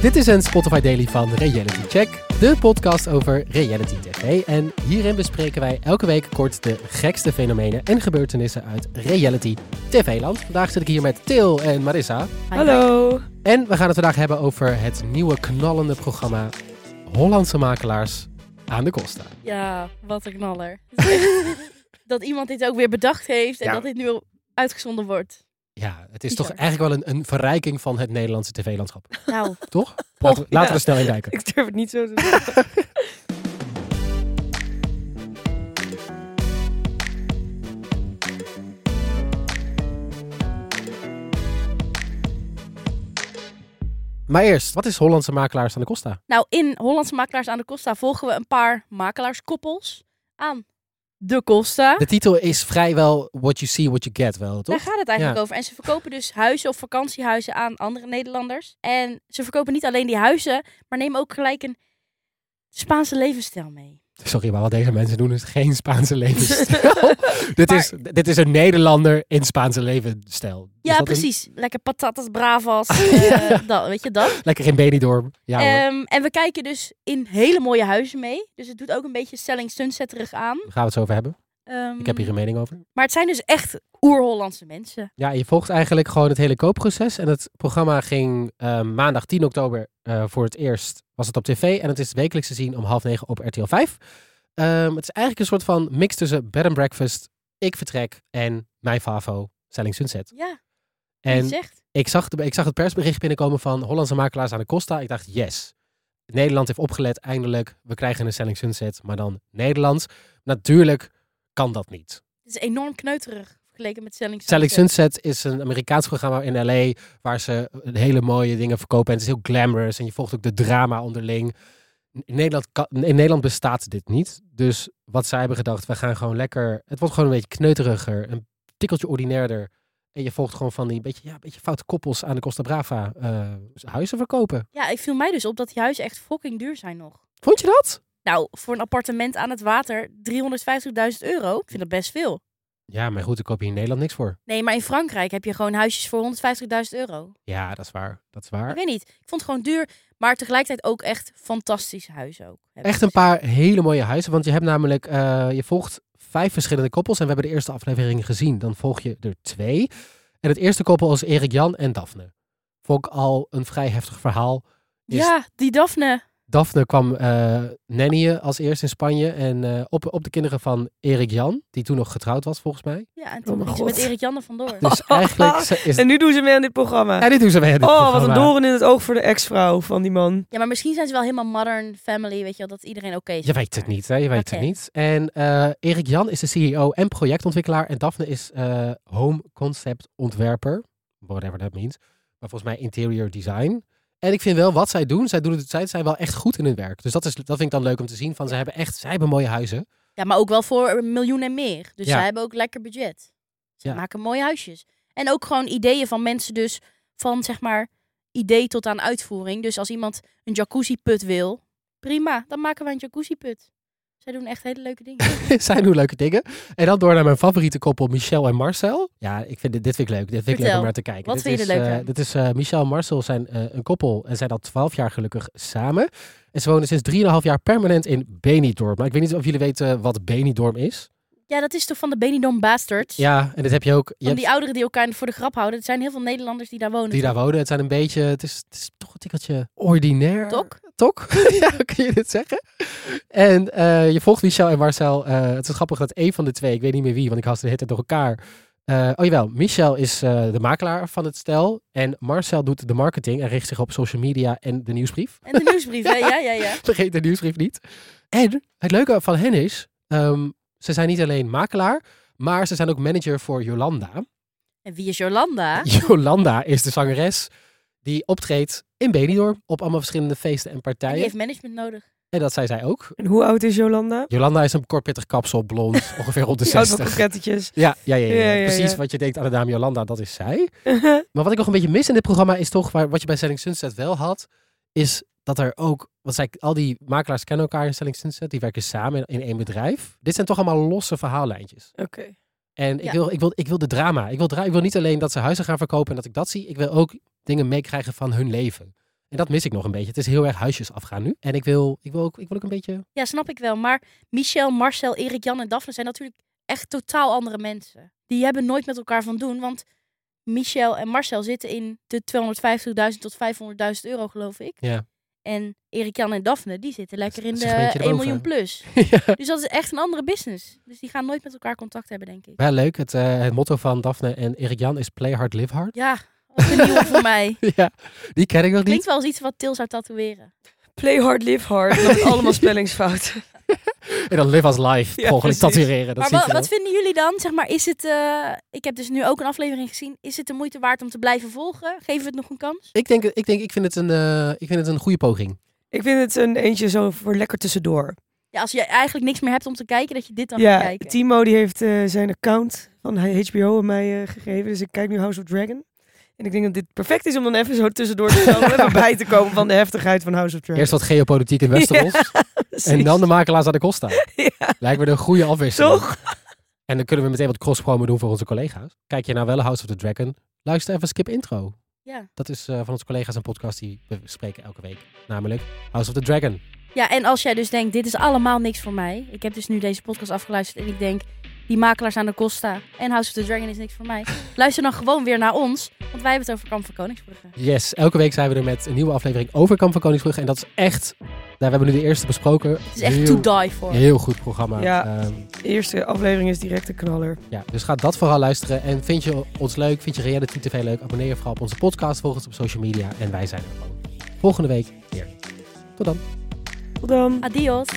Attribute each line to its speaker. Speaker 1: Dit is een Spotify Daily van Reality Check, de podcast over reality TV. En hierin bespreken wij elke week kort de gekste fenomenen en gebeurtenissen uit reality TV-land. Vandaag zit ik hier met Til en Marissa.
Speaker 2: Hallo.
Speaker 1: En we gaan het vandaag hebben over het nieuwe knallende programma Hollandse makelaars aan de Costa.
Speaker 2: Ja, wat een knaller. dat iemand dit ook weer bedacht heeft en
Speaker 1: Ja.
Speaker 2: dat dit nu uitgezonden wordt.
Speaker 1: Ja, het is
Speaker 2: Bizar.
Speaker 1: toch eigenlijk wel een, een verrijking van het Nederlandse TV-landschap,
Speaker 2: Nou,
Speaker 1: toch? Laten, we- laten we
Speaker 3: ja.
Speaker 1: er snel in duiken.
Speaker 3: Ik durf het niet zo te doen.
Speaker 1: Maar eerst, wat is Hollandse makelaars aan de Costa?
Speaker 2: nou, in Hollandse Makelaars aan de Costa volgen we een paar makelaarskoppels aan de Costa.
Speaker 1: De titel is vrijwel what you see, what you get wel,
Speaker 2: Daar
Speaker 1: toch?
Speaker 2: gaat het eigenlijk
Speaker 1: Ja.
Speaker 2: over. En ze verkopen dus huizen of vakantiehuizen aan andere Nederlanders. En ze verkopen niet alleen die huizen, maar nemen ook gelijk een Spaanse levensstijl mee.
Speaker 1: Sorry, maar wat deze mensen doen is geen Spaanse levensstijl. dit, is, dit is een Nederlander in Spaanse levensstijl. Is
Speaker 2: Ja,
Speaker 1: dat een-
Speaker 2: precies. Lekker patatas bravas. eh, dat, weet je dat?
Speaker 1: lekker in Benidorm. Ja hoor,
Speaker 2: Ehm, en we kijken dus in hele mooie huizen mee. Dus het doet ook een beetje Selling Sunsetterig aan.
Speaker 1: daar gaan we het zo over hebben.
Speaker 2: Ehm,
Speaker 1: Ik heb hier een mening over.
Speaker 2: Maar het zijn dus echt oer-Hollandse mensen.
Speaker 1: Ja, je volgt eigenlijk gewoon het hele koopproces. En het programma ging eh, maandag 10 oktober eh, voor het eerst was het op tv. En het is wekelijks te zien om half negen op RTL 5. Ehm, het is eigenlijk een soort van mix tussen bed and breakfast, ik vertrek en mijn favo, Selling Sunset.
Speaker 2: Ja, wie
Speaker 1: En
Speaker 2: zegt.
Speaker 1: ik zag, de, ik zag het persbericht binnenkomen van Hollandse makelaars aan de Costa. Ik dacht, yes. Nederland heeft opgelet, eindelijk. We krijgen een Selling Sunset, maar dan Nederlands. Natuurlijk kan dat niet.
Speaker 2: Het is enorm kneuterig vergeleken met Selling Sunset.
Speaker 1: Selling Sunset is een Amerikaans programma in LA waar ze eh, hele mooie dingen verkopen. En het is heel glamorous en je volgt ook de drama onderling. In Nederland, kan- in Nederland bestaat dit niet. Dus wat zij hebben gedacht, we gaan gewoon lekker. Het wordt gewoon een beetje kneuteriger, een tikkeltje ordinairder. En je volgt gewoon van die beetje, ja, beetje foute koppels aan de Costa Brava eh, huizen verkopen.
Speaker 2: Ja, ik viel mij dus op dat die huizen echt fucking duur zijn nog.
Speaker 1: Vond je dat?
Speaker 2: Nou, voor een appartement aan het water 350.000 euro. Ik vind dat best veel.
Speaker 1: Ja, maar goed, ik koop hier in Nederland niks voor.
Speaker 2: Nee, maar in Frankrijk heb je gewoon huisjes voor 150.000 euro.
Speaker 1: Ja, dat is waar. Dat is
Speaker 2: Ik
Speaker 1: waar.
Speaker 2: weet niet. Ik vond het gewoon duur. Maar tegelijkertijd ook echt fantastische huizen ook.
Speaker 1: Echt een paar hele mooie huizen. Want je hebt namelijk, eh, je volgt vijf verschillende koppels. En we hebben de eerste aflevering gezien. Dan volg je er twee. En het eerste koppel is Erik Jan en Daphne. Vond ik al een vrij heftig verhaal. Is-
Speaker 2: Ja, die Daphne.
Speaker 1: Daphne kwam eh nannyen als eerst in Spanje. En eh, op, op de kinderen van Erik Jan, die toen nog getrouwd was volgens mij.
Speaker 2: Ja, en toen
Speaker 3: mijn
Speaker 2: ging ze
Speaker 3: God.
Speaker 2: met Erik Jan er vandoor.
Speaker 1: Dus eigenlijk ze- is
Speaker 3: En nu doen ze mee aan dit programma.
Speaker 1: Ja, dit doen ze weer. dit
Speaker 3: oh, wat een
Speaker 1: programma.
Speaker 3: doorn in het oog voor de ex-vrouw van die man.
Speaker 2: Ja, maar misschien zijn ze wel helemaal modern family, weet je wel, dat iedereen oké is.
Speaker 1: Je weet het niet, hè? Je weet
Speaker 2: Oké.
Speaker 1: het niet. En eh, Erik Jan is de CEO en projectontwikkelaar. En Daphne is eh, home concept ontwerper. Whatever that means. Maar volgens mij interior design. En ik vind wel wat zij doen. Zij, doen het, zij zijn wel echt goed in hun werk. Dus dat, is, dat vind ik dan leuk om te zien. Van, zij, hebben echt, zij hebben mooie huizen.
Speaker 2: Ja, maar ook wel voor een miljoen en meer. Dus
Speaker 1: Ja.
Speaker 2: zij hebben ook lekker budget. Ze
Speaker 1: Ja.
Speaker 2: maken mooie huisjes. En ook gewoon ideeën van mensen dus, van zeg maar idee tot aan uitvoering. Dus als iemand een jacuzzi put wil, prima, dan maken wij een jacuzzi put. Zij doen echt hele leuke dingen.
Speaker 1: zij doen leuke dingen. En dan door naar mijn favoriete koppel, Michel en Marcel. Ja, ik vind dit, dit vind ik leuk. Dit vind ik leuk
Speaker 2: Vertel.
Speaker 1: om naar te kijken.
Speaker 2: Wat
Speaker 1: dit
Speaker 2: vind je
Speaker 1: is,
Speaker 2: er leuk
Speaker 1: eh,
Speaker 2: aan?
Speaker 1: dit is eh, Michel en Marcel zijn eh, een koppel en zijn al twaalf jaar gelukkig samen. En ze wonen sinds 3,5 jaar permanent in Benidorm. Maar ik weet niet of jullie weten eh, wat Benidorm is.
Speaker 2: ja, dat is toch van de Benidorm Bastards?
Speaker 1: Ja, en dit heb je ook. Je
Speaker 2: Van
Speaker 1: hebt
Speaker 2: die ouderen die elkaar voor de grap houden. Er zijn heel veel Nederlanders die daar wonen.
Speaker 1: die daar wonen. Het zijn een beetje, het is, het is toch een tikkeltje ordinair.
Speaker 2: Tok?
Speaker 1: Tok? ja, hoe kun je dit zeggen? En eh, je volgt Michel en Marcel. eh, het is grappig dat één van de twee, ik weet niet meer wie, want ik haal ze de hele tijd door elkaar. Eh, oh jawel, Michel is eh, de makelaar van het stel. En Marcel doet de marketing en richt zich op social media en de nieuwsbrief.
Speaker 2: En de nieuwsbrief, hè? Ja, ja, ja.
Speaker 1: Vergeet de nieuwsbrief niet. En het leuke van hen is, ehm, ze zijn niet alleen makelaar, maar ze zijn ook manager voor Jolanda.
Speaker 2: En wie is Jolanda?
Speaker 1: Jolanda is de zangeres die optreedt in Benidorm op allemaal verschillende feesten en
Speaker 2: Die
Speaker 1: partijen.
Speaker 2: heeft management nodig.
Speaker 1: En dat zei zij ook.
Speaker 3: En hoe oud is Jolanda?
Speaker 1: Jolanda is een kortpittig kapsel, blond, ongeveer rond de
Speaker 3: Die houdt wel
Speaker 1: 60.
Speaker 3: kokettetjes.
Speaker 1: Ja, ja, ja, ja,
Speaker 3: Ja, ja,
Speaker 1: precies
Speaker 3: ja.
Speaker 1: wat je denkt aan de naam Jolanda, dat is zij. Maar wat ik nog een beetje mis in dit programma is toch, waar, wat je bij Selling Sunset wel had, is dat er ook, want zij, al die makelaars kennen elkaar in Selling Sunset, die werken samen in, in één bedrijf. Dit zijn toch allemaal losse verhaallijntjes.
Speaker 3: Oké.
Speaker 1: En ik,
Speaker 2: Ja.
Speaker 1: wil, ik, wil, ik wil de drama. Ik wil, dra- ik wil niet alleen dat ze huizen gaan verkopen en dat ik dat zie. Ik wil ook dingen meekrijgen van hun leven. En dat mis ik nog een beetje. Het is heel erg huisjes afgaan nu. En ik wil, ik wil, ook, ik wil ook een beetje...
Speaker 2: Ja, snap ik wel. Maar Michel, Marcel, Erik, Jan en Daphne zijn natuurlijk echt totaal andere mensen. Die hebben nooit met elkaar van doen, want Michel en Marcel zitten in de 250.000 tot 500.000 euro, geloof ik.
Speaker 1: Ja.
Speaker 2: En Erik, Jan en Daphne, die zitten lekker in
Speaker 1: een
Speaker 2: de
Speaker 1: segmentje
Speaker 2: 1
Speaker 1: erboven.
Speaker 2: miljoen plus.
Speaker 1: ja.
Speaker 2: Dus dat is echt een andere business. Dus die gaan nooit met elkaar contact hebben, denk ik.
Speaker 1: Wel leuk. Het, eh, het motto van Daphne en Erik Jan is play hard, live hard.
Speaker 2: Ja, ook een nieuwe voor mij.
Speaker 1: ja, die ken ik nog niet.
Speaker 2: Klinkt wel als iets wat Til zou tatoeëren.
Speaker 3: Play hard, live hard. Met allemaal spellingsfouten.
Speaker 1: En dan live als live.
Speaker 3: Ja,
Speaker 1: Ja, Gewoon
Speaker 3: precies.
Speaker 1: tatoeëren. Dat
Speaker 2: Maar
Speaker 1: zie
Speaker 2: wa-
Speaker 1: ik wel.
Speaker 2: wat vinden jullie dan? Zeg maar, is het, eh, ik heb dus nu ook een aflevering gezien. Is het de moeite waard om te blijven volgen? Geven we het nog een kans?
Speaker 1: Ik denk, ik denk, ik vind het een, eh, ik vind het een goede poging.
Speaker 3: Ik vind het een eentje zo voor lekker tussendoor.
Speaker 2: Ja, als je eigenlijk niks meer hebt om te kijken, dat je dit dan gaat
Speaker 3: ja,
Speaker 2: kijken.
Speaker 3: Timo die heeft eh, zijn account van HBO aan mij eh, gegeven. Dus ik kijk nu House of Dragon. En ik denk dat dit perfect is om dan even zo tussendoor te snel even bij te komen van de heftigheid van House of Dragon.
Speaker 1: Eerst wat geopolitiek in Westeros. en dan de makelaars aan de Costa.
Speaker 3: Ja.
Speaker 1: Lijkt me een goede afwisseling.
Speaker 3: Toch?
Speaker 1: En dan kunnen we meteen wat cross-promo doen voor onze collega's. Kijk je naar Welle House of the Dragon? Luister even Skip Intro.
Speaker 2: Ja.
Speaker 1: Dat is eh, van onze collega's een podcast die we bespreken elke week. Namelijk House of the Dragon.
Speaker 2: ja, en als jij dus denkt, dit is allemaal niks voor mij. Ik heb dus nu deze podcast afgeluisterd en ik denk, die makelaars aan de Costa en House of the Dragon is niks voor mij. Luister dan gewoon weer naar ons, want wij hebben het over Kamp van Koningsbrugge.
Speaker 1: Yes, elke week zijn we er met een nieuwe aflevering over Kamp van Koningsbrug. En dat is echt, nou, we hebben nu de eerste besproken.
Speaker 2: Het is echt to die voor.
Speaker 1: Heel goed programma.
Speaker 3: Ja.
Speaker 1: Ehm,
Speaker 3: De eerste aflevering is direct een knaller.
Speaker 1: Ja, dus ga dat vooral luisteren. En vind je ons leuk? Vind je Reality TV leuk? Abonneer je vooral op onze podcast. Volg ons op social media. En wij zijn er gewoon volgende week weer. Tot dan.
Speaker 3: Tot dan.
Speaker 2: Adios.